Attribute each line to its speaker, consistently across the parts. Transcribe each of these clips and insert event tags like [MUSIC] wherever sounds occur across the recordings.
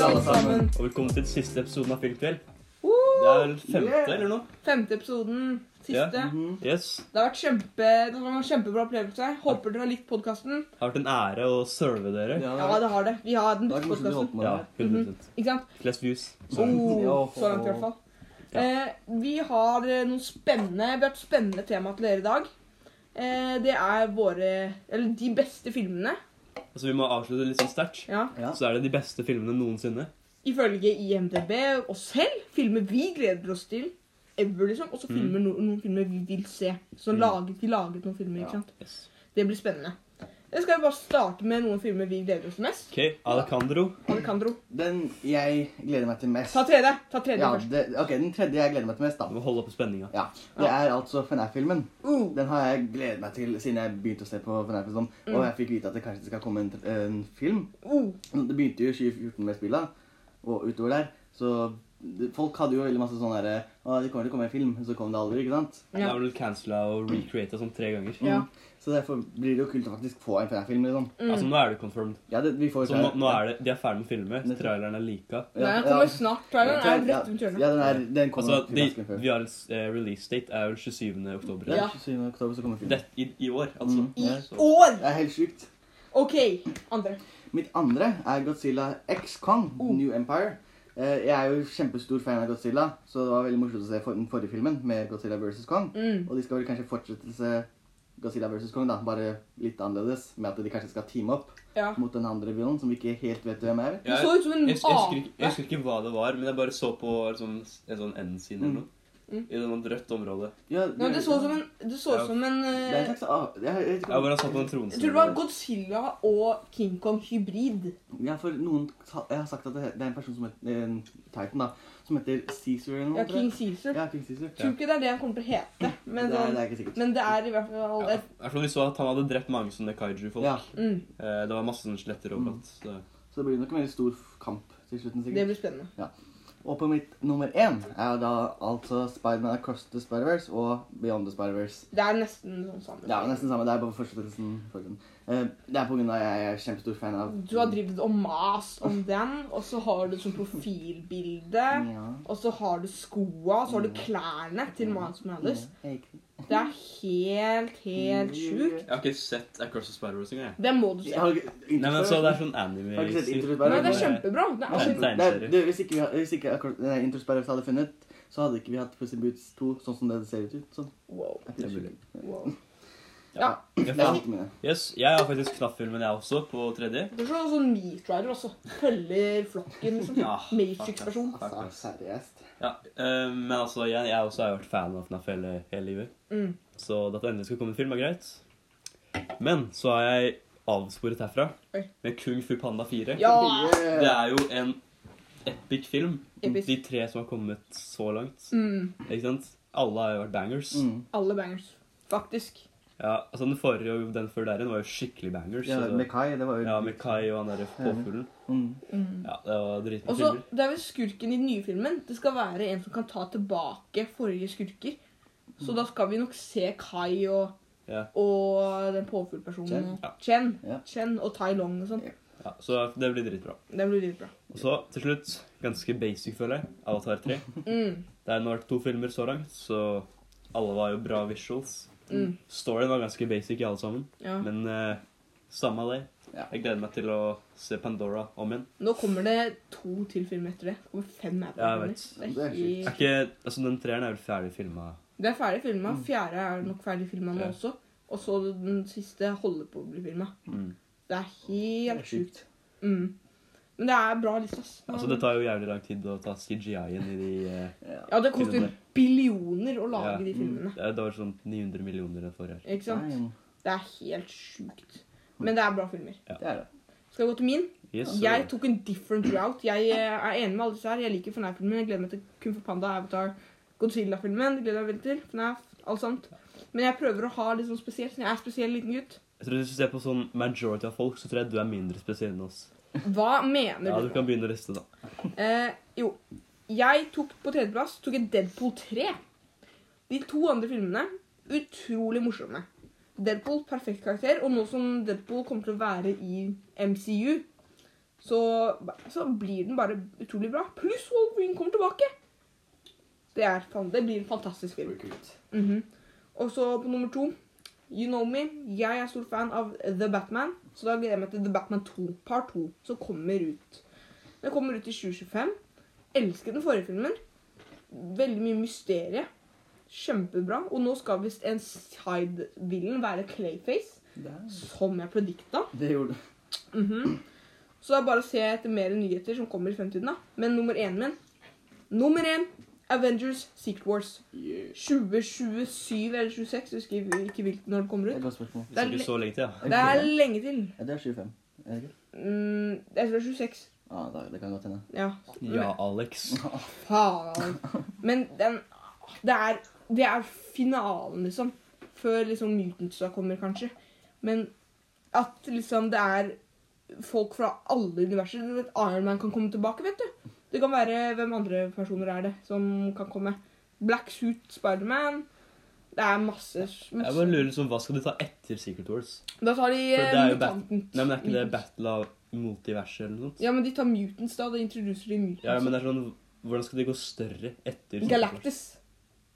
Speaker 1: sammen.
Speaker 2: Og velkommen til siste episoden av Filmkveld. Det er vel femte
Speaker 3: Yeah.
Speaker 2: eller noe?
Speaker 1: Femte episoden. Siste.
Speaker 2: Ja.
Speaker 3: Mhm.
Speaker 2: Yes.
Speaker 1: Det har vært kjempe, det var en kjempebra opplevelse. Håper dere har likt podkasten.
Speaker 2: Det har vært en ære å serve dere.
Speaker 3: Ja, Mm-hmm.
Speaker 1: Ja, det har det. Vi har den
Speaker 3: det er
Speaker 1: beste
Speaker 3: koselig å
Speaker 1: podkasten.
Speaker 3: holde på med
Speaker 2: Ja,
Speaker 3: det.
Speaker 2: 100
Speaker 1: Ikke sant?
Speaker 2: Flest views.
Speaker 1: Så,
Speaker 3: Ja.
Speaker 1: så langt, i hvert fall.
Speaker 2: Ja.
Speaker 1: Eh, vi har eh, noen spennende, vi har et spennende tema til dere i dag. Eh, det er våre Eller de beste filmene.
Speaker 2: Altså, vi må avslutte litt sånn sterkt.
Speaker 1: Ja.
Speaker 3: Ja.
Speaker 2: Så er det de beste filmene noensinne.
Speaker 1: Ifølge IMDb og selv. Filmer vi gleder oss til. Ever, liksom. Og så
Speaker 2: Mm.
Speaker 1: filmer no, noen filmer vi vil se. Så
Speaker 2: Mm.
Speaker 1: laget, vi laget noen filmer.
Speaker 3: Ja.
Speaker 1: ikke sant?
Speaker 2: Yes.
Speaker 1: Det blir spennende. Jeg skal vi bare starte med noen filmer vi gleder oss til mest.
Speaker 2: OK, Alejandro.
Speaker 1: Alejandro.
Speaker 3: Den jeg gleder meg til mest
Speaker 1: Ta tredje. Ta tredje
Speaker 3: ja,
Speaker 1: først.
Speaker 3: det, Ok, den tredje jeg gleder meg til mest,
Speaker 2: Du
Speaker 3: da.
Speaker 2: må holde oppe spenninga.
Speaker 3: Ja, Det er altså FNAF-filmen.
Speaker 1: Uh,
Speaker 3: Den har jeg gledet meg til siden jeg begynte å se på FNAF. Liksom.
Speaker 1: Mm.
Speaker 3: Og jeg fikk vite at det kanskje skal komme en, en film.
Speaker 1: uh.
Speaker 3: Det begynte jo i 2014 med spilla, og utover der. Så det- folk hadde jo veldig masse sånn derre Å, det kommer til å komme en film. Så kom det aldri, ikke sant?
Speaker 2: Det
Speaker 1: Ja.
Speaker 2: er vel cancela og recreata sånn tre ganger.
Speaker 1: Ja.
Speaker 3: Mm. Så derfor blir det jo kult å faktisk få en FNAF-film, liksom.
Speaker 2: Altså,
Speaker 1: Mm.
Speaker 2: nå er det confirmed.
Speaker 3: Ja, det, vi får
Speaker 2: Så nå, nå er det, De er ferdig med å filme. Traileren er lika.
Speaker 1: Nei, den kommer snart. Traileren er rett rundt hjørnet.
Speaker 3: Ja, den, er, den kommer
Speaker 2: Altså,
Speaker 3: nok
Speaker 2: de,
Speaker 3: til ganske før.
Speaker 2: vi har en s- eh, release date er vel 27. oktober.
Speaker 3: Den
Speaker 1: Ja.
Speaker 3: 27. oktober så kommer filmen.
Speaker 2: Det, i, I år, altså.
Speaker 3: Mm.
Speaker 1: I
Speaker 3: Ja,
Speaker 2: så-
Speaker 1: år!
Speaker 3: Det er helt sykt.
Speaker 1: OK, andre.
Speaker 3: Mitt andre er Godzilla X Kong,
Speaker 1: Oh.
Speaker 3: New Empire. Eh, Jeg er jo kjempestor fan av Godzilla, så det var veldig morsomt å se for, den forrige filmen med Godzilla vs. Kong.
Speaker 1: Mm.
Speaker 3: Og de skal vel kanskje fortsette å se Godzilla vs. Kong, da, bare litt annerledes. Med at de kanskje skal teame opp
Speaker 1: Ja.
Speaker 3: mot den andre bjørnen, som vi ikke helt vet hvem er.
Speaker 1: Det så ut som en
Speaker 2: Jeg, jeg, husker ikke, jeg
Speaker 1: ape.
Speaker 2: husker ikke hva det var, men jeg bare så på liksom, en sånn N-side eller noe.
Speaker 1: Mm.
Speaker 2: I et rødt område.
Speaker 3: Ja,
Speaker 1: Nei, det så ut som en, det så ut
Speaker 2: Ja.
Speaker 1: som en
Speaker 3: Det er en
Speaker 1: eh,
Speaker 3: slags av... Jeg, jeg, vet ikke
Speaker 2: Jeg
Speaker 3: om-
Speaker 2: bare satt på den
Speaker 1: Jeg tror det var
Speaker 2: tronen.
Speaker 1: Godzilla og King Kong hybrid.
Speaker 3: Ja, for noen sa- Jeg har sagt at det det er en person som heter en Titan, da. Som heter Caesar eller noe.
Speaker 1: Ja,
Speaker 3: tror jeg.
Speaker 1: King Caesar.
Speaker 3: Ja, King Caesar.
Speaker 1: Jeg tror ikke det er det han kommer til å hete, men,
Speaker 3: det, er, det
Speaker 1: sånn,
Speaker 3: er ikke sikkert.
Speaker 1: men det er i hvert fall
Speaker 2: Ja, i hvert fall vi så at han hadde drept mange sånne kaiju-folk.
Speaker 3: Ja,
Speaker 1: mm,
Speaker 2: Eh, det var masse sånne skjeletter overalt. Så.
Speaker 3: Så det blir nok en veldig stor kamp til slutten,
Speaker 1: Det
Speaker 3: sikkert.
Speaker 1: blir spennende.
Speaker 3: Og på mitt nummer én er da altså Spiderman Across the Spider-Verse og Beyond the Spider-Verse.
Speaker 1: Det er nesten sånn samme.
Speaker 3: Det er jo nesten samme. Det er bare fortsettelsen. for den. Eh, Det er på grunn av at jeg er kjempestor fan av
Speaker 1: Du har drevet og mast om den, og så har du sånn profilbilde.
Speaker 3: Ja.
Speaker 1: Og så har du skoa, og så har du klærne til Miles Morales.
Speaker 3: Jeg gikk-
Speaker 1: Det er helt, helt sjukt.
Speaker 2: Jeg har ikke sett Across the Spider-Verse engang. jeg.
Speaker 1: Det må du
Speaker 3: Jeg
Speaker 1: se.
Speaker 3: har ikke
Speaker 2: Nei, men så Det er sånn anime
Speaker 3: Har du ikke sett Into the
Speaker 1: Nei,
Speaker 3: Spider-Verse?
Speaker 1: det er kjempebra. Det er
Speaker 2: Nei.
Speaker 1: kjempe...
Speaker 3: Det er- det- Hvis ikke, vi hadde- hvis ikke akkurat- nei, Into the Spider-Verse hadde funnet, så hadde ikke vi hatt Pussy Boots 2 sånn som det ser ut. Sånn.
Speaker 1: Wow.
Speaker 3: Er ikke
Speaker 2: Det er
Speaker 3: det
Speaker 2: mulig.
Speaker 3: sjukt?
Speaker 1: wow.
Speaker 3: Det
Speaker 2: Jeg,
Speaker 3: er
Speaker 2: får-
Speaker 3: litt mine.
Speaker 2: eh, yes, jeg har faktisk knappfilmen, jeg også, på tredje.
Speaker 1: Det er sånn, sånn Meat Rider også. Følger flokken, liksom.
Speaker 2: Ja,
Speaker 1: Matrix-versjon.
Speaker 3: Altså, seriøst.
Speaker 2: Ah, Ja, eh, men altså, jeg, jeg også har vært fan av FNAF hele, hele livet.
Speaker 1: Mm.
Speaker 2: Så det at det endelig skal komme en film, er greit. Men så har jeg avsporet herfra
Speaker 1: Oi.
Speaker 2: med Kung Fu Panda 4.
Speaker 1: Ja!
Speaker 2: Det er jo en epic film.
Speaker 1: Episk.
Speaker 2: De tre som har kommet så langt.
Speaker 1: Mm.
Speaker 2: Ikke sant? Alle har jo vært bangers.
Speaker 3: Mm.
Speaker 1: Alle bangers. Faktisk.
Speaker 2: Ja, altså Den forrige og den før der igjen var jo skikkelig bangers.
Speaker 3: Ja,
Speaker 2: altså.
Speaker 3: med Kai, det var jo
Speaker 2: ja, med Kai og han derre påfuglen.
Speaker 3: Mm.
Speaker 1: Mm.
Speaker 2: Ja, det var dritbra
Speaker 1: Og så,
Speaker 2: filmer.
Speaker 1: det er vel skurken i den nye filmen. Det skal være en som kan ta tilbake forrige skurker. Så da skal vi nok se Kai og,
Speaker 2: Ja.
Speaker 1: og den påfuglpersonen.
Speaker 3: Chen.
Speaker 2: Ja.
Speaker 1: Chen.
Speaker 3: Ja.
Speaker 1: Chen og Tai Long og sånn.
Speaker 2: Ja, så det blir dritbra.
Speaker 1: Det blir litt bra.
Speaker 2: Og så til slutt, ganske basic, føler jeg, Avatar
Speaker 3: [LAUGHS]
Speaker 2: 3.
Speaker 1: Mm.
Speaker 2: Det er nå vært to filmer så langt, så alle var jo bra visuals.
Speaker 1: Mm.
Speaker 2: Storyen var ganske basic i alle sammen,
Speaker 1: Ja.
Speaker 2: men eh, samme av det.
Speaker 3: Ja.
Speaker 2: Jeg gleder meg til å se Pandora om igjen.
Speaker 1: Nå kommer det to til filmer etter det. Det kommer fem
Speaker 2: Ja, jeg
Speaker 1: Avatar-filmer.
Speaker 2: vet.
Speaker 1: Det, er
Speaker 3: Det er sjukt.
Speaker 2: Er
Speaker 1: helt-
Speaker 2: ikke, altså Den treeren er vel ferdig filma?
Speaker 1: det er ferdig filma. Fjerde er nok ferdig filma nå
Speaker 2: Ja.
Speaker 1: også. Og så den siste holder på å bli filma.
Speaker 2: Mm.
Speaker 1: Det er helt
Speaker 3: er sjukt.
Speaker 1: sjukt. Mm. Men det er bra liste, ass.
Speaker 2: Altså, det tar jo jævlig lang tid å ta CGI-en i de eh,
Speaker 1: Ja, det koster
Speaker 2: filmene.
Speaker 1: billioner å lage
Speaker 2: Ja. Mm.
Speaker 1: de filmene.
Speaker 2: Det var sånn 900 millioner den forrige.
Speaker 1: Ikke sant? Det er helt sjukt. Men det er bra filmer.
Speaker 3: Det er det.
Speaker 1: Skal jeg gå til min?
Speaker 2: Yes, så-
Speaker 1: Jeg tok en different route. Jeg eh, er enig med alle disse her. Jeg liker FNAF-filmen. Jeg gleder meg til Kung Fu Panda, Avatar, Godzilla-filmen. Det gleder jeg meg veldig til. FNAF, alt sånt. Men jeg prøver å ha litt sånn spesielt, siden jeg er spesiell liten gutt.
Speaker 2: Jeg tror Hvis du ser på sånn majority av folk, så tror jeg du er mindre spesiell enn oss.
Speaker 1: Hva mener
Speaker 2: Ja,
Speaker 1: du?
Speaker 2: Du kan begynne å riste, da.
Speaker 1: Eh, jo. Jeg tok på tredjeplass tok jeg Deadpool 3. De to andre filmene utrolig morsomme. Deadpool perfekt karakter, og nå som Deadpool kommer til å være i MCU, så, så blir den bare utrolig bra. Pluss Wolverine kommer tilbake. Det, er, fan- det blir en fantastisk film. Mhm. Og så på nummer to You know me. Jeg er stor fan av The Batman. Så da gleder jeg meg til The Batman 2, part 2, som kommer ut. Den kommer ut i 2025. Elsker den forrige filmen. Veldig mye mysterie. Kjempebra. Og nå skal visst en side-villen være Clayface,
Speaker 3: Der.
Speaker 1: som jeg predikta.
Speaker 3: Det gjorde du.
Speaker 1: Mhm. Så det er bare å se etter mer nyheter som kommer i fremtiden. da. Men nummer én min Nummer én Avengers Secret Wars. 2027 eller 26, jeg husker ikke hvilken når det kommer
Speaker 3: Det
Speaker 1: ut.
Speaker 3: er et godt spørsmål.
Speaker 2: Det er ikke så lenge til, ja.
Speaker 1: Det er lenge til.
Speaker 3: Ja, det er 25. Er det ikke?
Speaker 1: Mm, jeg tror det er 26.
Speaker 3: Ja, da, det kan godt hende.
Speaker 1: Ja.
Speaker 2: Ja, Alex.
Speaker 1: Faen. Men den det er, det er finalen, liksom. Før liksom Mutantsa kommer, kanskje. Men at liksom det er folk fra alle universer. Du vet, Iron Man kan komme tilbake, vet du. Det kan være hvem andre personer er det som kan komme. Black Suit, Spiderman. Det er masse,
Speaker 2: Jeg bare
Speaker 1: masse.
Speaker 2: lurer liksom, Hva skal de ta etter Secret Wars?
Speaker 1: Da tar de eh,
Speaker 2: For det er jo Bat-
Speaker 1: mutanten.
Speaker 2: Nei, men Er ikke det Battle av multiverset eller noe sånt?
Speaker 1: Ja, men de tar mutants, da. Da introduserer de mutants.
Speaker 2: Ja, men det er sånn, Hvordan skal de gå større etter Secret Wars?
Speaker 1: Galactus.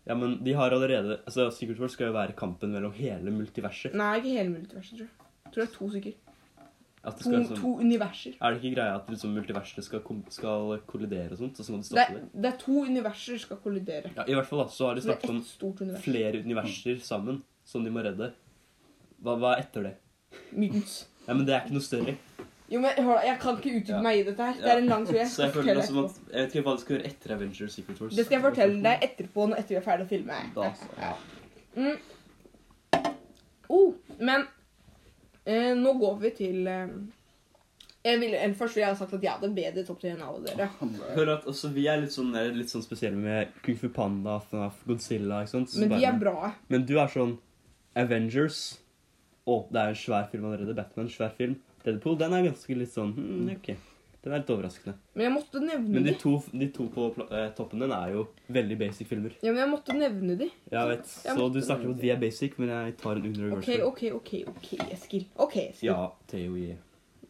Speaker 2: Ja, men de har allerede, altså Secret Wars skal jo være kampen mellom hele multiverset.
Speaker 1: Nei, ikke hele multiverset, tror jeg. Jeg tror det er to stykker.
Speaker 2: At det
Speaker 1: To,
Speaker 2: skal, liksom,
Speaker 1: to universer.
Speaker 2: er det ikke greia at liksom, multiverset skal, kom- skal kollidere og sånt? Og så må de
Speaker 1: Det,
Speaker 2: stoppe det?
Speaker 1: er- det er to universer skal kollidere.
Speaker 2: Ja, I hvert fall da, så har de
Speaker 1: Så det
Speaker 2: snakket
Speaker 1: er
Speaker 2: om
Speaker 1: ett stort univers.
Speaker 2: flere universer sammen som de må redde. Hva, hva er etter det?
Speaker 1: Mutants.
Speaker 2: Ja, men det er ikke noe større.
Speaker 1: Jo, men hør da, Jeg kan ikke utdype
Speaker 2: Ja.
Speaker 1: meg i dette her. Det er en lang tur.
Speaker 2: [LAUGHS] Så jeg
Speaker 1: fortelle
Speaker 2: føler det som
Speaker 1: etterpå.
Speaker 2: at, jeg vet ikke hva de skal gjøre etter Avengers Secret Wars.
Speaker 1: Det skal jeg fortelle deg etterpå, når etter vi er ferdig å filme.
Speaker 3: Da, så, ja.
Speaker 1: Mm. Oh, men eh, nå går vi til eh, jeg ville, eller Først ville jeg ha sagt at jeg hadde bedre topp til enn alle dere.
Speaker 2: Ah, Hør at også, Vi er litt sånn, eh, litt sånn spesielle med Kung Fu Panda, FNAF, Godzilla ikke sant? Så
Speaker 1: Men de
Speaker 2: bare-
Speaker 1: er bra.
Speaker 2: Men du er sånn Avengers Å, det er en svær film allerede. Batman, svær film. Deadpool, den er ganske litt sånn
Speaker 1: Mm.
Speaker 2: hmm, OK. Den er litt overraskende.
Speaker 1: Men jeg måtte nevne
Speaker 2: Men de
Speaker 1: de.
Speaker 2: to, de to på pla- eh, toppen den er jo veldig basic filmer.
Speaker 1: Ja, men jeg måtte nevne de.
Speaker 2: Jeg vet, Så du snakker om at vi er basic, men jeg tar en under
Speaker 1: OK, OK, OK, ok, Eskil. OK, Eskil.
Speaker 2: Ja, TOI.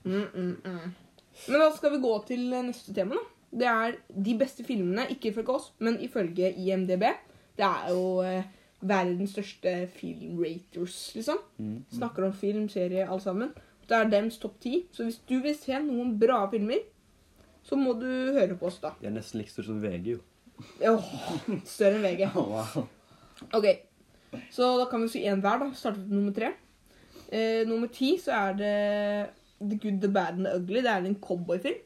Speaker 1: Mm, mm, mm. Men da skal vi gå til eh, neste tema, da. Det er de beste filmene, ikke ifølge oss, men ifølge IMDb. Det er jo eh, verdens største filmraters, liksom.
Speaker 2: Mm.
Speaker 1: Snakker om film, serie, alt sammen. Det er dems topp ti. Så hvis du vil se noen bra filmer, så må du høre på oss, da.
Speaker 2: De er nesten like store som VG, jo.
Speaker 1: Åh, større enn VG.
Speaker 3: Å, [LAUGHS] wow.
Speaker 1: Ok, så da kan vi si en hver da. Starte med nummer tre. Eh, nummer ti så er det The Good, The Bad and The Ugly. Det er en cowboyfilm.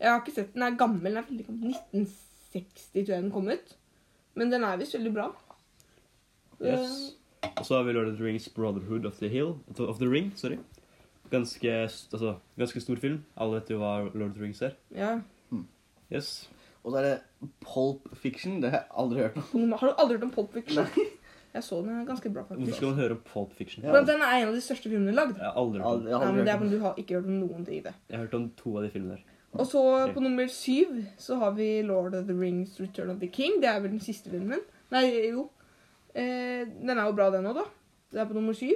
Speaker 1: Jeg har ikke sett den. Den er gammel. Den er veldig gammel. 1960 tror jeg den kom ut. Men den er visst veldig bra. Eh,
Speaker 2: Yes. Og så har vi Lord of the Rings Brotherhood of the Hill Of the Ring, sorry. Ganske, s- altså, ganske stor film. Alle vet jo hva Lord of the Rings er.
Speaker 1: Eh, ja.
Speaker 2: Yes.
Speaker 3: Og så er det Pulp Fiction. Det har jeg aldri hørt om.
Speaker 1: Nummer- Har du aldri hørt om Pulp Fiction? Jeg så den den er ganske bra,
Speaker 2: Hvorfor
Speaker 1: faktisk.
Speaker 2: skal man høre om Pulp Fiction?
Speaker 3: Ja.
Speaker 1: Men den er en av de største filmene lagd.
Speaker 2: Jeg har aldri hørt om
Speaker 3: Aldri,
Speaker 1: Nei,
Speaker 3: aldri
Speaker 1: men det er
Speaker 3: hørt om.
Speaker 1: men Du har ikke hørt om noen ting i det.
Speaker 2: Jeg har hørt om to av de filmene der.
Speaker 1: Og så på nummer syv så har vi Lord of the Rings Return of the King. Det er vel den siste filmen. Nei, jo. Eh, den er jo bra, den òg, da. Det er på nummer syv.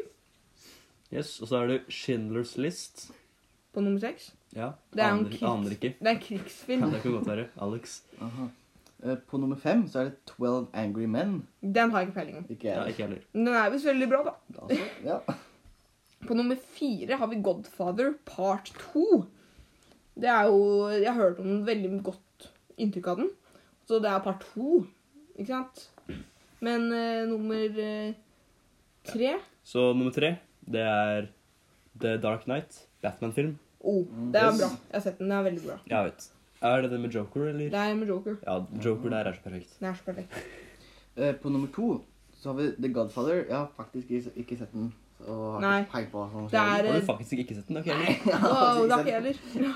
Speaker 2: Yes, Og så er det Schindlers List.
Speaker 1: På nummer seks.
Speaker 2: Ja,
Speaker 1: Det er jo en
Speaker 2: aner,
Speaker 1: krigs-
Speaker 2: aner ikke.
Speaker 1: Det er en krigsfilm.
Speaker 2: Det kan godt være. Alex.
Speaker 3: Aha. Eh, På nummer fem så er det 12 Angry Men.
Speaker 1: Den har jeg ikke peiling om.
Speaker 2: [LAUGHS]
Speaker 3: Ikke
Speaker 2: Ja,
Speaker 3: jeg.
Speaker 2: ikke heller.
Speaker 1: Men den er visst veldig bra, da.
Speaker 3: Da, så, ja.
Speaker 1: På nummer fire har vi Godfather part 2. Det er jo Jeg har hørt om den veldig godt inntrykk av den. Så det er part 2, ikke sant? Men eh, nummer eh, tre
Speaker 2: Så nummer tre, det er The Dark Knight. Batman-film.
Speaker 1: Oh, det er
Speaker 3: Yes.
Speaker 1: bra. Jeg har sett den. Den er veldig bra.
Speaker 2: Jeg vet. Er det det med Joker, eller?
Speaker 1: Det er med Joker.
Speaker 2: Ja, Joker der er så perfekt.
Speaker 1: Den er så perfekt.
Speaker 3: Eh, På nummer to så har vi The Godfather. Jeg har faktisk ikke ikke sett den. Og har
Speaker 1: Nei.
Speaker 3: ikke peil på hva som
Speaker 1: Det er
Speaker 3: skjer. [LAUGHS]
Speaker 2: Har
Speaker 1: eh,
Speaker 2: du faktisk ikke sett den? Ok, heller.
Speaker 3: Ja,
Speaker 1: Wow,
Speaker 2: altså,
Speaker 1: det
Speaker 3: faktisk
Speaker 1: er ikke jeg heller. Ja.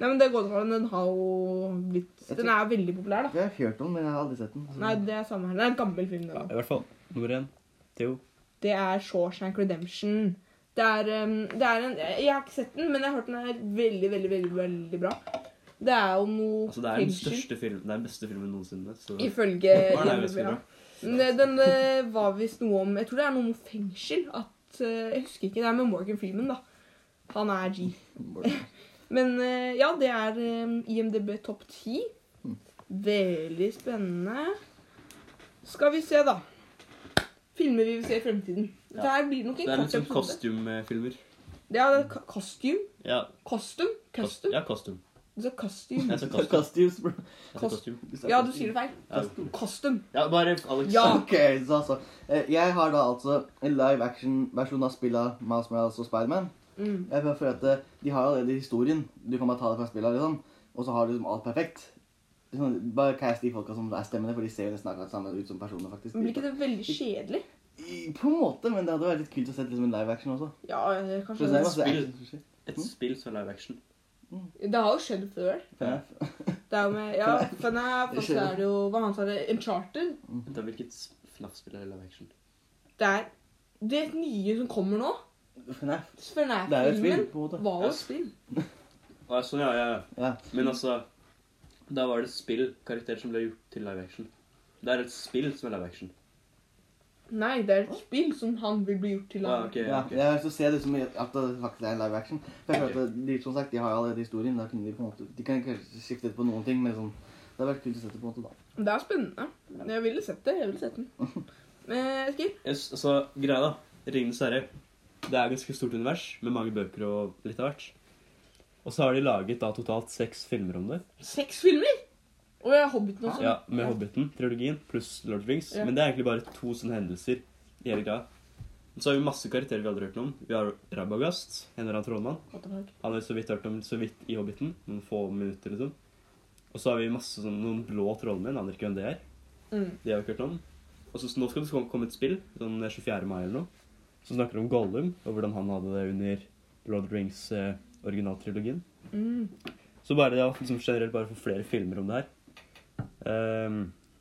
Speaker 1: Nei, men det går an. Den har jo blitt Den er veldig populær, da.
Speaker 3: Jeg har hørt om den, men jeg har aldri sett den. så-
Speaker 1: Nei, det er samme her. Det er en gammel film.
Speaker 2: Ja,
Speaker 1: Den.
Speaker 2: I hvert fall. Nummer én, Theo.
Speaker 1: Det er Shawshank Redemption. Det er, eh, det er en Jeg har ikke sett den, men jeg har hørt den er veldig, veldig, veldig veldig bra. Det er jo noe
Speaker 2: Altså, det er den
Speaker 1: fengsel,
Speaker 2: største filmen, det er den beste filmen noensinne. Så
Speaker 1: Ifølge
Speaker 2: Hva er det vi skal
Speaker 1: ja.
Speaker 2: gjøre?
Speaker 1: Men det- Den eh, var visst noe om Jeg tror det er noe om fengsel. At eh, Jeg husker ikke. Det er med Morgan Freeman, da. Han er G. Men eh, ja, det er eh, IMDb topp 10. Veldig spennende. Skal vi se, da. Filmer vi vil se i fremtiden.
Speaker 2: Ja.
Speaker 1: Det her blir nok
Speaker 2: Det
Speaker 1: en
Speaker 2: er en
Speaker 1: kort
Speaker 2: sånn
Speaker 1: episode.
Speaker 2: kostumefilmer.
Speaker 1: Ja, det er ka- costume.
Speaker 2: Ja,
Speaker 1: Costume.
Speaker 2: kos-
Speaker 1: Custom.
Speaker 2: ja, kostum.
Speaker 1: Altså costume.
Speaker 2: Jeg sa
Speaker 3: Costumes.
Speaker 2: kostum.
Speaker 3: bro.
Speaker 2: Jeg sa
Speaker 1: Kost-
Speaker 2: kostum.
Speaker 1: Ja, du sier det feil.
Speaker 2: Ja.
Speaker 1: Costume.
Speaker 2: Ja, bare Alex.
Speaker 1: Ja.
Speaker 3: OK, så altså. Eh, Jeg har da altså en live action-versjon av spillet Miles Morales og Spiderman.
Speaker 1: Mm.
Speaker 3: Jeg bare føler at eh, De har allerede historien. Du kan bare ta det fra spillet, liksom. Og så har du liksom alt perfekt. Liksom, bare cast de folka som er stemmene, for de ser jo nesten akkurat samme ut som personer, faktisk.
Speaker 1: Men Blir ikke det veldig kjedelig?
Speaker 3: I- På en måte, men det hadde vært litt kult å se liksom en live action også.
Speaker 1: Ja, eh,
Speaker 3: For
Speaker 1: kanskje
Speaker 3: det er
Speaker 1: det.
Speaker 3: masse
Speaker 2: Spill.
Speaker 3: action som skjer.
Speaker 2: Et spill som er live action.
Speaker 1: Det har jo skjedd før.
Speaker 3: Ja.
Speaker 1: Det er jo med Ja, FNAF, og så er det jo Hva han sa det? Uncharted.
Speaker 2: Vent da, hvilket s- FNAF-spill er live action?
Speaker 1: Det er det nye som kommer nå.
Speaker 3: FNAF. Det er jo et spill,
Speaker 1: FNAF-filmen
Speaker 3: på en måte.
Speaker 1: var jo et spill.
Speaker 2: Å, ja, sånn, ja, ja, ja.
Speaker 3: Ja.
Speaker 2: Men altså, da var det spillkarakterer som ble gjort til live action. Det er et spill som er live action.
Speaker 1: Nei, det er et spill som han vil bli gjort til.
Speaker 2: Ah,
Speaker 1: han.
Speaker 2: ok,
Speaker 3: Ja,
Speaker 2: ja, ok.
Speaker 3: jeg har lyst til å se det som at det faktisk er en live action. For jeg føler at de som sagt, de har jo allerede historien. Da kunne de på en måte, de kan kanskje skifte ut på noen ting, men liksom, det hadde vært kult å se det på en måte da.
Speaker 1: Det er spennende. Jeg ville sett det. Jeg ville
Speaker 2: [LAUGHS]
Speaker 1: sett den. Eh, Eskil?
Speaker 2: Yes, altså, greia da, Ringenes herre, det er et ganske stort univers med mange bøker og litt av hvert. Og så har de laget da totalt seks filmer om det.
Speaker 1: Seks filmer? Og jeg er Hobbiten også.
Speaker 2: Ja, Med Hobbiten, trilogien, pluss Lord of the Rings.
Speaker 1: Sånn. Ja.
Speaker 2: Men det er egentlig bare to sånne hendelser i hele greia. Så har vi masse karakterer vi aldri har hørt noe om. Vi har Rabagast, en eller annen trollmann.
Speaker 1: What the fuck?
Speaker 2: Han har vi så vidt hørt om så vidt i Hobbiten, noen få minutter liksom. Og så har vi masse sånn, noen blå trollmenn, aner ikke hvem det er.
Speaker 1: Mm.
Speaker 2: Det har vi ikke hørt om. Og så nå skal det kom- komme et spill, sånn 24. mai eller noe, som snakker om Gollum, og hvordan han hadde det under Lord of the Rings eh, originaltrilogien.
Speaker 1: Mm.
Speaker 2: Så bare det å liksom generelt bare få flere filmer om det her. Ehm,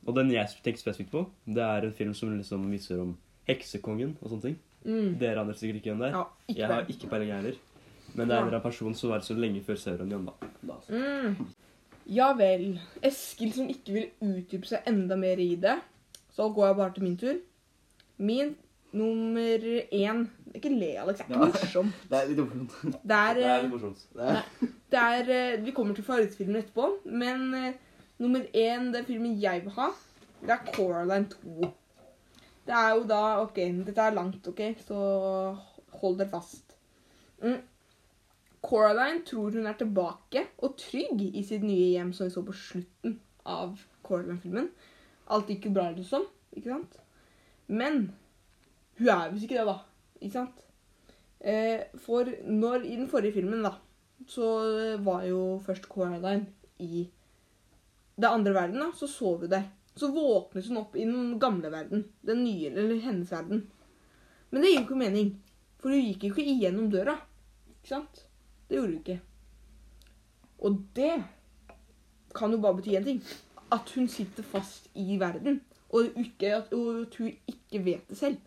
Speaker 2: og den jeg tenker spesifikt på, det er en film som liksom viser om heksekongen og sånne ting.
Speaker 1: Mm.
Speaker 2: Dere aner sikkert ikke hvem det er.
Speaker 1: Ja,
Speaker 2: jeg
Speaker 1: ikke
Speaker 2: har
Speaker 1: det.
Speaker 2: ikke peiling jeg heller. Men det er en eller
Speaker 1: Ja.
Speaker 2: annen person som var så lenge før Sauron igjen, da.
Speaker 3: da altså.
Speaker 1: Mm. Ja vel. Eskil som ikke vil utdype seg enda mer i det. Så går jeg bare til min tur. Min nummer én Ikke le, Alex. Det er ikke
Speaker 3: Ja.
Speaker 2: [LAUGHS]
Speaker 1: morsom.
Speaker 3: Det er litt [LAUGHS] morsomt.
Speaker 1: Det er,
Speaker 2: Det er
Speaker 1: eh,
Speaker 2: litt morsomt.
Speaker 3: Det er,
Speaker 1: det er, eh, vi kommer til favorittfilmen etterpå, men eh, nummer én, den filmen jeg vil ha, det er Coraline 2. Det er jo da OK, dette er langt, OK, så hold dere fast. Mm. Coraline tror hun er tilbake og trygg i sitt nye hjem, som vi så på slutten av Coraline-filmen. Alt gikk jo bra, liksom. Ikke sant? Men hun er visst ikke det, da. Ikke sant? Eh, for når I den forrige filmen, da, så eh, var jo først Coraline i det andre verden, da, så sov hun der. Så våknet hun opp i den gamle verden. Den nye, eller hennes verden. Men det gir jo ikke mening. For hun gikk jo ikke igjennom døra. Ikke sant? Det gjorde hun ikke. Og det kan jo bare bety én ting. At hun sitter fast i verden. Og, ikke, at, og at hun ikke vet det selv.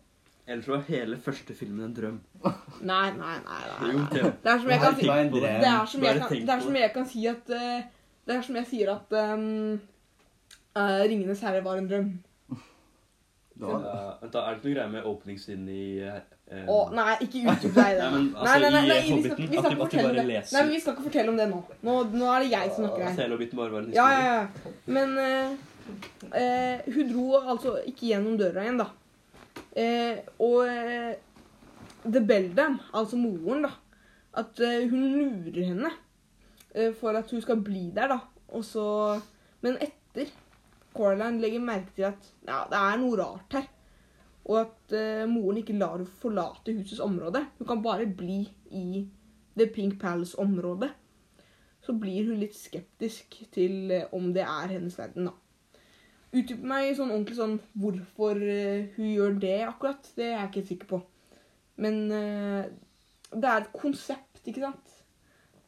Speaker 2: Ellers var hele første filmen en drøm.
Speaker 1: Nei, nei, nei. nei,
Speaker 2: Jo,
Speaker 1: nei.
Speaker 2: Theo.
Speaker 1: Det er som jeg kan si
Speaker 3: Det var en
Speaker 2: på Eh, det.
Speaker 3: drøm.
Speaker 1: det er som, jeg
Speaker 2: Bare
Speaker 1: kan,
Speaker 2: tenk
Speaker 1: det er
Speaker 2: på
Speaker 1: som
Speaker 2: det.
Speaker 1: jeg kan si at eh, Det er som jeg sier at um, eh, 'Ringenes herre' var en drøm.
Speaker 3: Det var det.
Speaker 2: Ja, vent da, Er det ikke noe greie med åpningssiden i eh,
Speaker 1: Å, nei, ikke utdyp deg i det.
Speaker 2: [LAUGHS] Nei, men, altså, i
Speaker 1: vi skal-
Speaker 2: Hobbiten,
Speaker 1: vi
Speaker 2: at de-
Speaker 1: skal ikke
Speaker 2: at de
Speaker 1: fortelle
Speaker 2: bare
Speaker 1: om det.
Speaker 2: leser. Altså,
Speaker 1: Nei, men vi skal ikke fortelle om det nå. Nå, nå er det jeg som
Speaker 2: at
Speaker 1: snakker her.
Speaker 2: hele Hobbiten bare var en
Speaker 1: Ja,
Speaker 2: historie?
Speaker 1: ja, ja. Men eh, eh, hun dro altså ikke gjennom døra igjen, da. Eh, og eh, The Beldam, altså moren, da At eh, hun lurer henne eh, for at hun skal bli der, da. Og så Men etter Coraline legger merke til at ja, det er noe rart her. Og at eh, moren ikke lar henne forlate husets område. Hun kan bare bli i The Pink Palace-området så blir hun litt skeptisk til eh, om det er hennes verden, da. Utdyp meg sånn ordentlig sånn hvorfor eh, hun gjør det akkurat, det er jeg ikke helt sikker på. Men eh, det er et konsept, ikke sant?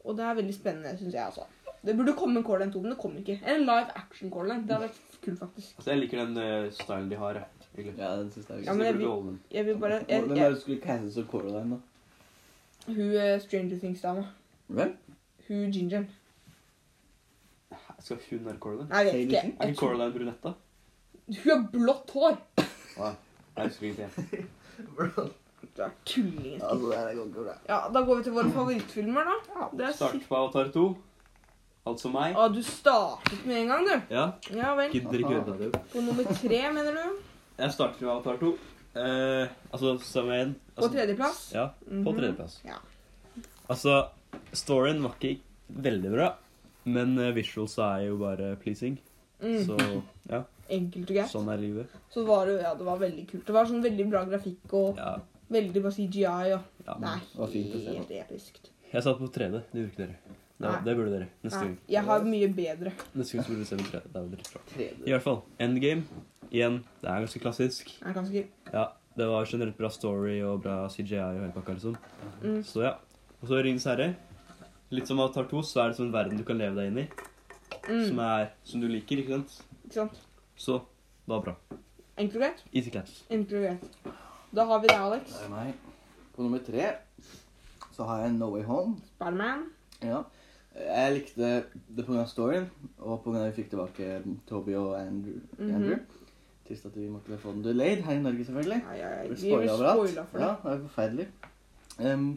Speaker 1: Og det er veldig spennende, syns jeg, altså. Det burde komme en Coraline 2, men det kommer ikke. Eller en live action Coraline. Det hadde vært kult, faktisk.
Speaker 2: Altså, Jeg liker den eh, stylen de har. Jeg, egentlig.
Speaker 3: Ja, den synes jeg
Speaker 2: Jeg
Speaker 1: Ja,
Speaker 3: er
Speaker 2: synes de
Speaker 1: men jeg
Speaker 2: burde
Speaker 1: vil-
Speaker 2: beholde den.
Speaker 1: Jeg vil bare
Speaker 3: gøy.
Speaker 1: jeg,
Speaker 3: Hvem er
Speaker 1: jeg,
Speaker 3: det du skulle caste som Coraline, da?
Speaker 1: Hun eh, Stranger Things-dama.
Speaker 3: Vel?
Speaker 1: Hun Gingeren.
Speaker 2: Skal hun være Coraline?
Speaker 1: Nei, jeg vet
Speaker 3: Taylor
Speaker 1: ikke.
Speaker 2: Er
Speaker 1: Jeg
Speaker 2: ikke Coraline brunett, da?
Speaker 1: tror- Hun har blått hår.
Speaker 2: Nei, jeg husker ingenting. jeg.
Speaker 1: Du er tullingen.
Speaker 3: Altså, det her går ikke bra.
Speaker 1: Ja, da går vi til våre favorittfilmer, da. Det er
Speaker 2: Start
Speaker 1: sikkert
Speaker 2: på Avatar 2. Altså meg.
Speaker 1: Å, du startet med en gang, du.
Speaker 2: Ja,
Speaker 1: Ja vel.
Speaker 2: gidder ikke høre på det.
Speaker 1: På nummer tre, mener du?
Speaker 2: Jeg starter med Avatar 2. Eh, altså, som en
Speaker 1: På
Speaker 2: altså,
Speaker 1: tredjeplass?
Speaker 2: Ja, på
Speaker 1: Mhm.
Speaker 2: tredjeplass.
Speaker 1: Ja.
Speaker 2: Altså, storyen var ikke veldig bra, men eh, visuals er jo bare pleasing.
Speaker 1: Mm. [LAUGHS]
Speaker 2: Så ja,
Speaker 1: Enkelt og greit.
Speaker 2: sånn er livet.
Speaker 1: Så var det, ja, det var veldig kult. Det var sånn veldig bra grafikk og
Speaker 2: Ja,
Speaker 1: veldig bra CGI. Og. Det
Speaker 2: ja.
Speaker 1: er
Speaker 3: var fint å se på.
Speaker 1: helt episkt.
Speaker 2: Jeg satt på 3D. Det gjorde ikke dere. Det,
Speaker 1: Nei.
Speaker 2: det burde dere. Neste
Speaker 1: Nei,
Speaker 2: gang.
Speaker 1: jeg har mye bedre.
Speaker 2: Neste gang så burde dere se på 3D. Det er jo dritbra. I
Speaker 3: Tredje.
Speaker 2: hvert fall, Endgame. Igjen, det er ganske klassisk.
Speaker 1: Jeg er ganske
Speaker 2: Ja, det var generelt bra story og bra CGI og hele pakka, liksom.
Speaker 1: Mm.
Speaker 2: Så ja. Og så Ringens herre. Litt som Avatar 2, så er det som en verden du kan leve deg inn i. Som
Speaker 1: mm,
Speaker 2: er som du liker, ikke sant?
Speaker 1: Ikke sant?
Speaker 2: Så det var bra.
Speaker 1: Enkelt og greit?
Speaker 2: Easy claps.
Speaker 1: Enkelt og greit. Da har vi deg, Alex.
Speaker 3: Det er meg. På nummer tre så har jeg No Way Home.
Speaker 1: Spiderman.
Speaker 3: Ja. Jeg likte det pga. storyen, og pga. vi fikk tilbake Toby og Andrew.
Speaker 1: Mhm.
Speaker 3: Andrew. Trist at vi måtte få den delayed her i Norge, selvfølgelig.
Speaker 1: Nei, jeg,
Speaker 3: Vi
Speaker 1: jeg,
Speaker 3: ble
Speaker 1: vi blir
Speaker 3: spoila overalt.
Speaker 1: spoila for det.
Speaker 3: Ja, det er forferdelig. Ehm,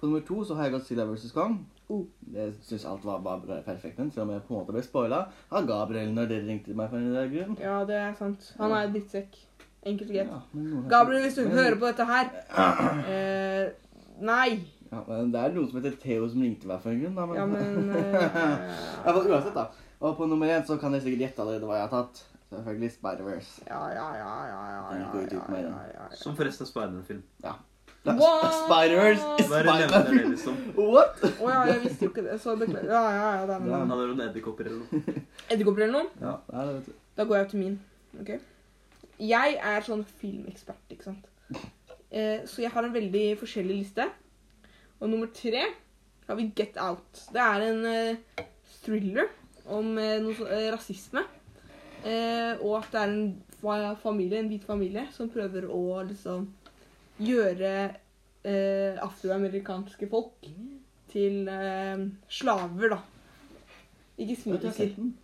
Speaker 3: på nummer to så har jeg gått Silla vs. Kong.
Speaker 1: Oh.
Speaker 3: Jeg syns alt var bare bra- perfekt, men selv om jeg på en måte ble spoila av Gabriel når dere ringte meg for en dag grunn.
Speaker 1: Ja, det er sant. Han er en drittsekk. Enkelt og greit.
Speaker 3: Ja, men noen-
Speaker 1: Gabriel, hvis du
Speaker 3: Men-
Speaker 1: hører på dette
Speaker 3: [CLEARS THROAT]
Speaker 1: her eh, Nei.
Speaker 3: Ja, men Det er noen som heter Theo som ringte meg for en grunn, da. Men...
Speaker 1: Ja,
Speaker 3: [LAUGHS]
Speaker 1: men
Speaker 3: I hvert
Speaker 1: eh,
Speaker 3: fall uansett, da. Og på nummer én så kan dere sikkert gjette allerede hva jeg har tatt. Selvfølgelig Spider-Verse.
Speaker 1: Ja, ja, ja, ja, ja,
Speaker 3: Den
Speaker 1: ja,
Speaker 3: går ikke ut
Speaker 1: ja,
Speaker 3: med
Speaker 1: ja,
Speaker 3: den.
Speaker 1: ja, ja.
Speaker 2: Som forresten Spiderman-film.
Speaker 3: Ja, Sp-
Speaker 1: What?
Speaker 3: Spider-Verse!
Speaker 2: Bare nevne det,
Speaker 3: Spider
Speaker 2: liksom.
Speaker 3: What?
Speaker 1: Å ja, jeg visste jo ikke det. Så beklager. Ja, ja, ja, det er
Speaker 3: Ja.
Speaker 1: noe.
Speaker 2: Han har noen edderkopper eller noe.
Speaker 1: Edderkopper eller noe?
Speaker 3: Ja, det er det, vet du.
Speaker 1: Da går jeg til min. ok? Jeg er sånn filmekspert, ikke sant. Eh, så jeg har en veldig forskjellig liste. Og nummer tre har vi Get Out. Det er en eh, thriller om eh, noe så, eh, rasisme. Eh, og at det er en fa familie, en hvit familie som prøver å liksom gjøre eh, afroamerikanske folk til eh, slaver, da. Ikke
Speaker 3: Jeg har
Speaker 1: smileser.
Speaker 3: sett den.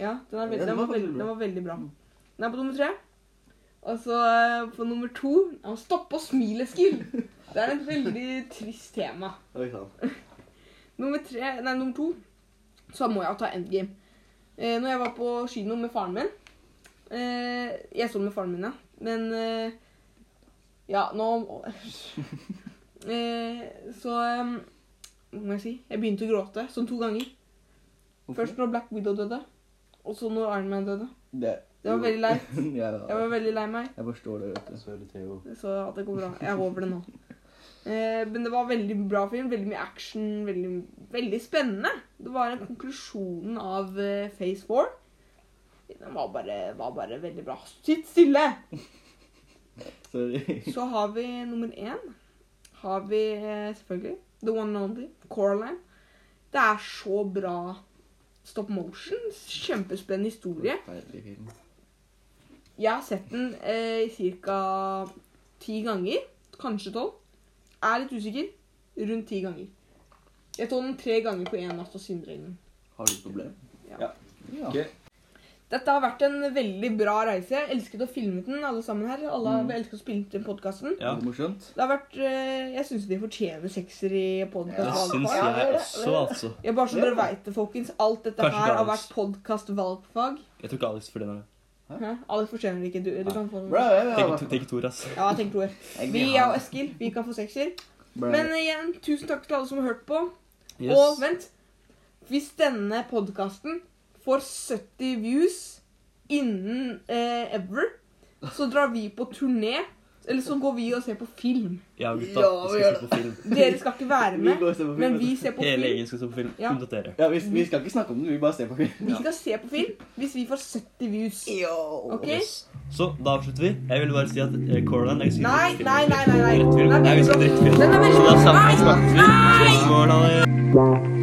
Speaker 1: Ja, den, er
Speaker 3: Ja,
Speaker 1: veldig,
Speaker 3: den
Speaker 1: den, var veldig,
Speaker 3: var faktisk bra.
Speaker 1: den var veldig bra. Den er på nummer tre. Og så eh, på nummer to ja, Stopp og smil, Eskil! Det er et veldig trist tema.
Speaker 3: Oi sann.
Speaker 1: Nummer tre, nei, nummer to, så må jeg jo ta Endgame. Eh, når jeg var på kino med faren min eh, Jeg så den med faren min, ja. Men eh, Ja, nå [LAUGHS] eh, Så eh, Hva må jeg si? Jeg begynte å gråte sånn to ganger. Først når Black Widow døde, og så når Iron Man døde.
Speaker 3: Det,
Speaker 1: Det var veldig leit.
Speaker 3: [LAUGHS] ja,
Speaker 1: Jeg var
Speaker 3: ja.
Speaker 1: veldig lei meg,
Speaker 3: Jeg forstår det, vet du.
Speaker 2: Dessverre, Theo.
Speaker 1: så at det går bra. Jeg er over det nå. Eh, men det var veldig bra film. Veldig mye action. Veldig, veldig spennende. Det var en konklusjon av eh, Phase 4. Den var bare, var bare veldig bra. Sitt stille!
Speaker 3: Sorry.
Speaker 1: Så har vi nummer én. Har vi eh, selvfølgelig The One and Only. Coraline. Det er så bra stop motion. Kjempespennende historie.
Speaker 3: Forferdelig film.
Speaker 1: Jeg har sett den eh, ca. ti ganger. Kanskje tolv. Er litt usikker. Rundt ti ganger. Jeg så den tre ganger på én natt og syndregnen.
Speaker 3: Har du et problem?
Speaker 1: Ja.
Speaker 2: Ja.
Speaker 3: Ja.
Speaker 2: Ok.
Speaker 1: Dette har vært en veldig bra reise. Jeg elsket å filme den, alle sammen her. Alle
Speaker 3: Mm.
Speaker 1: har elsket å spille den podkasten.
Speaker 2: Ja.
Speaker 3: Er det morsomt?
Speaker 1: Det har vært eh, Jeg syns de fortjener sekser i
Speaker 3: Ja,
Speaker 2: Det
Speaker 1: podkast.
Speaker 2: syns jeg også, altså.
Speaker 1: jeg bare så dere veit det, folkens. Alt dette
Speaker 2: Kanskje
Speaker 1: her har
Speaker 2: Alex.
Speaker 1: vært podkast-valgfag.
Speaker 2: Jeg tok Alex for den.
Speaker 1: Hæ? Alex fortjener det ikke. Du, du
Speaker 2: Nei.
Speaker 1: kan få den.
Speaker 3: Bra, ja, ja, ja.
Speaker 2: Tenk, tenk Tor, ass.
Speaker 1: Ja, tenk Roar. Vi,
Speaker 3: Jeg vil
Speaker 1: jeg
Speaker 3: ha
Speaker 1: og
Speaker 3: det.
Speaker 1: Eskil, vi kan få sekser.
Speaker 3: Bra.
Speaker 1: Men igjen, tusen takk til alle som har hørt på. Og
Speaker 2: Yes.
Speaker 1: vent. Hvis denne podkasten får 70 views innen eh, ever, så drar vi på turné. Eller så går vi og ser på film.
Speaker 2: Ja, gutta.
Speaker 3: Ja,
Speaker 2: Vi skal
Speaker 3: vi gjør
Speaker 2: se på film.
Speaker 1: Dere skal ikke være
Speaker 3: [LAUGHS] Vi
Speaker 1: med,
Speaker 3: går og ser på film,
Speaker 1: men
Speaker 3: vet
Speaker 1: vi
Speaker 3: du.
Speaker 1: ser på
Speaker 2: Hele
Speaker 1: film.
Speaker 2: gjengen skal se på film.
Speaker 1: Ja.
Speaker 2: Unntatt dere.
Speaker 3: Ja, vi, vi skal ikke snakke om den, vi bare ser på film.
Speaker 1: Vi
Speaker 3: [LAUGHS]
Speaker 1: skal se på film hvis vi får 70 views. Ok?
Speaker 2: Yes. Så da avslutter vi. Jeg ville bare si at eh, Coraline er ganske
Speaker 1: Nei,
Speaker 2: drittfilm.
Speaker 1: nei, nei. nei, nei.
Speaker 2: Drittfilm.
Speaker 1: Den
Speaker 2: Jeg
Speaker 1: er
Speaker 2: vil si
Speaker 1: veldig bra.
Speaker 2: drittfilm.
Speaker 1: Den er veldig
Speaker 2: Så da
Speaker 1: bra.
Speaker 2: snakkes
Speaker 1: Nei,
Speaker 2: vi. Ses i morgen, alle.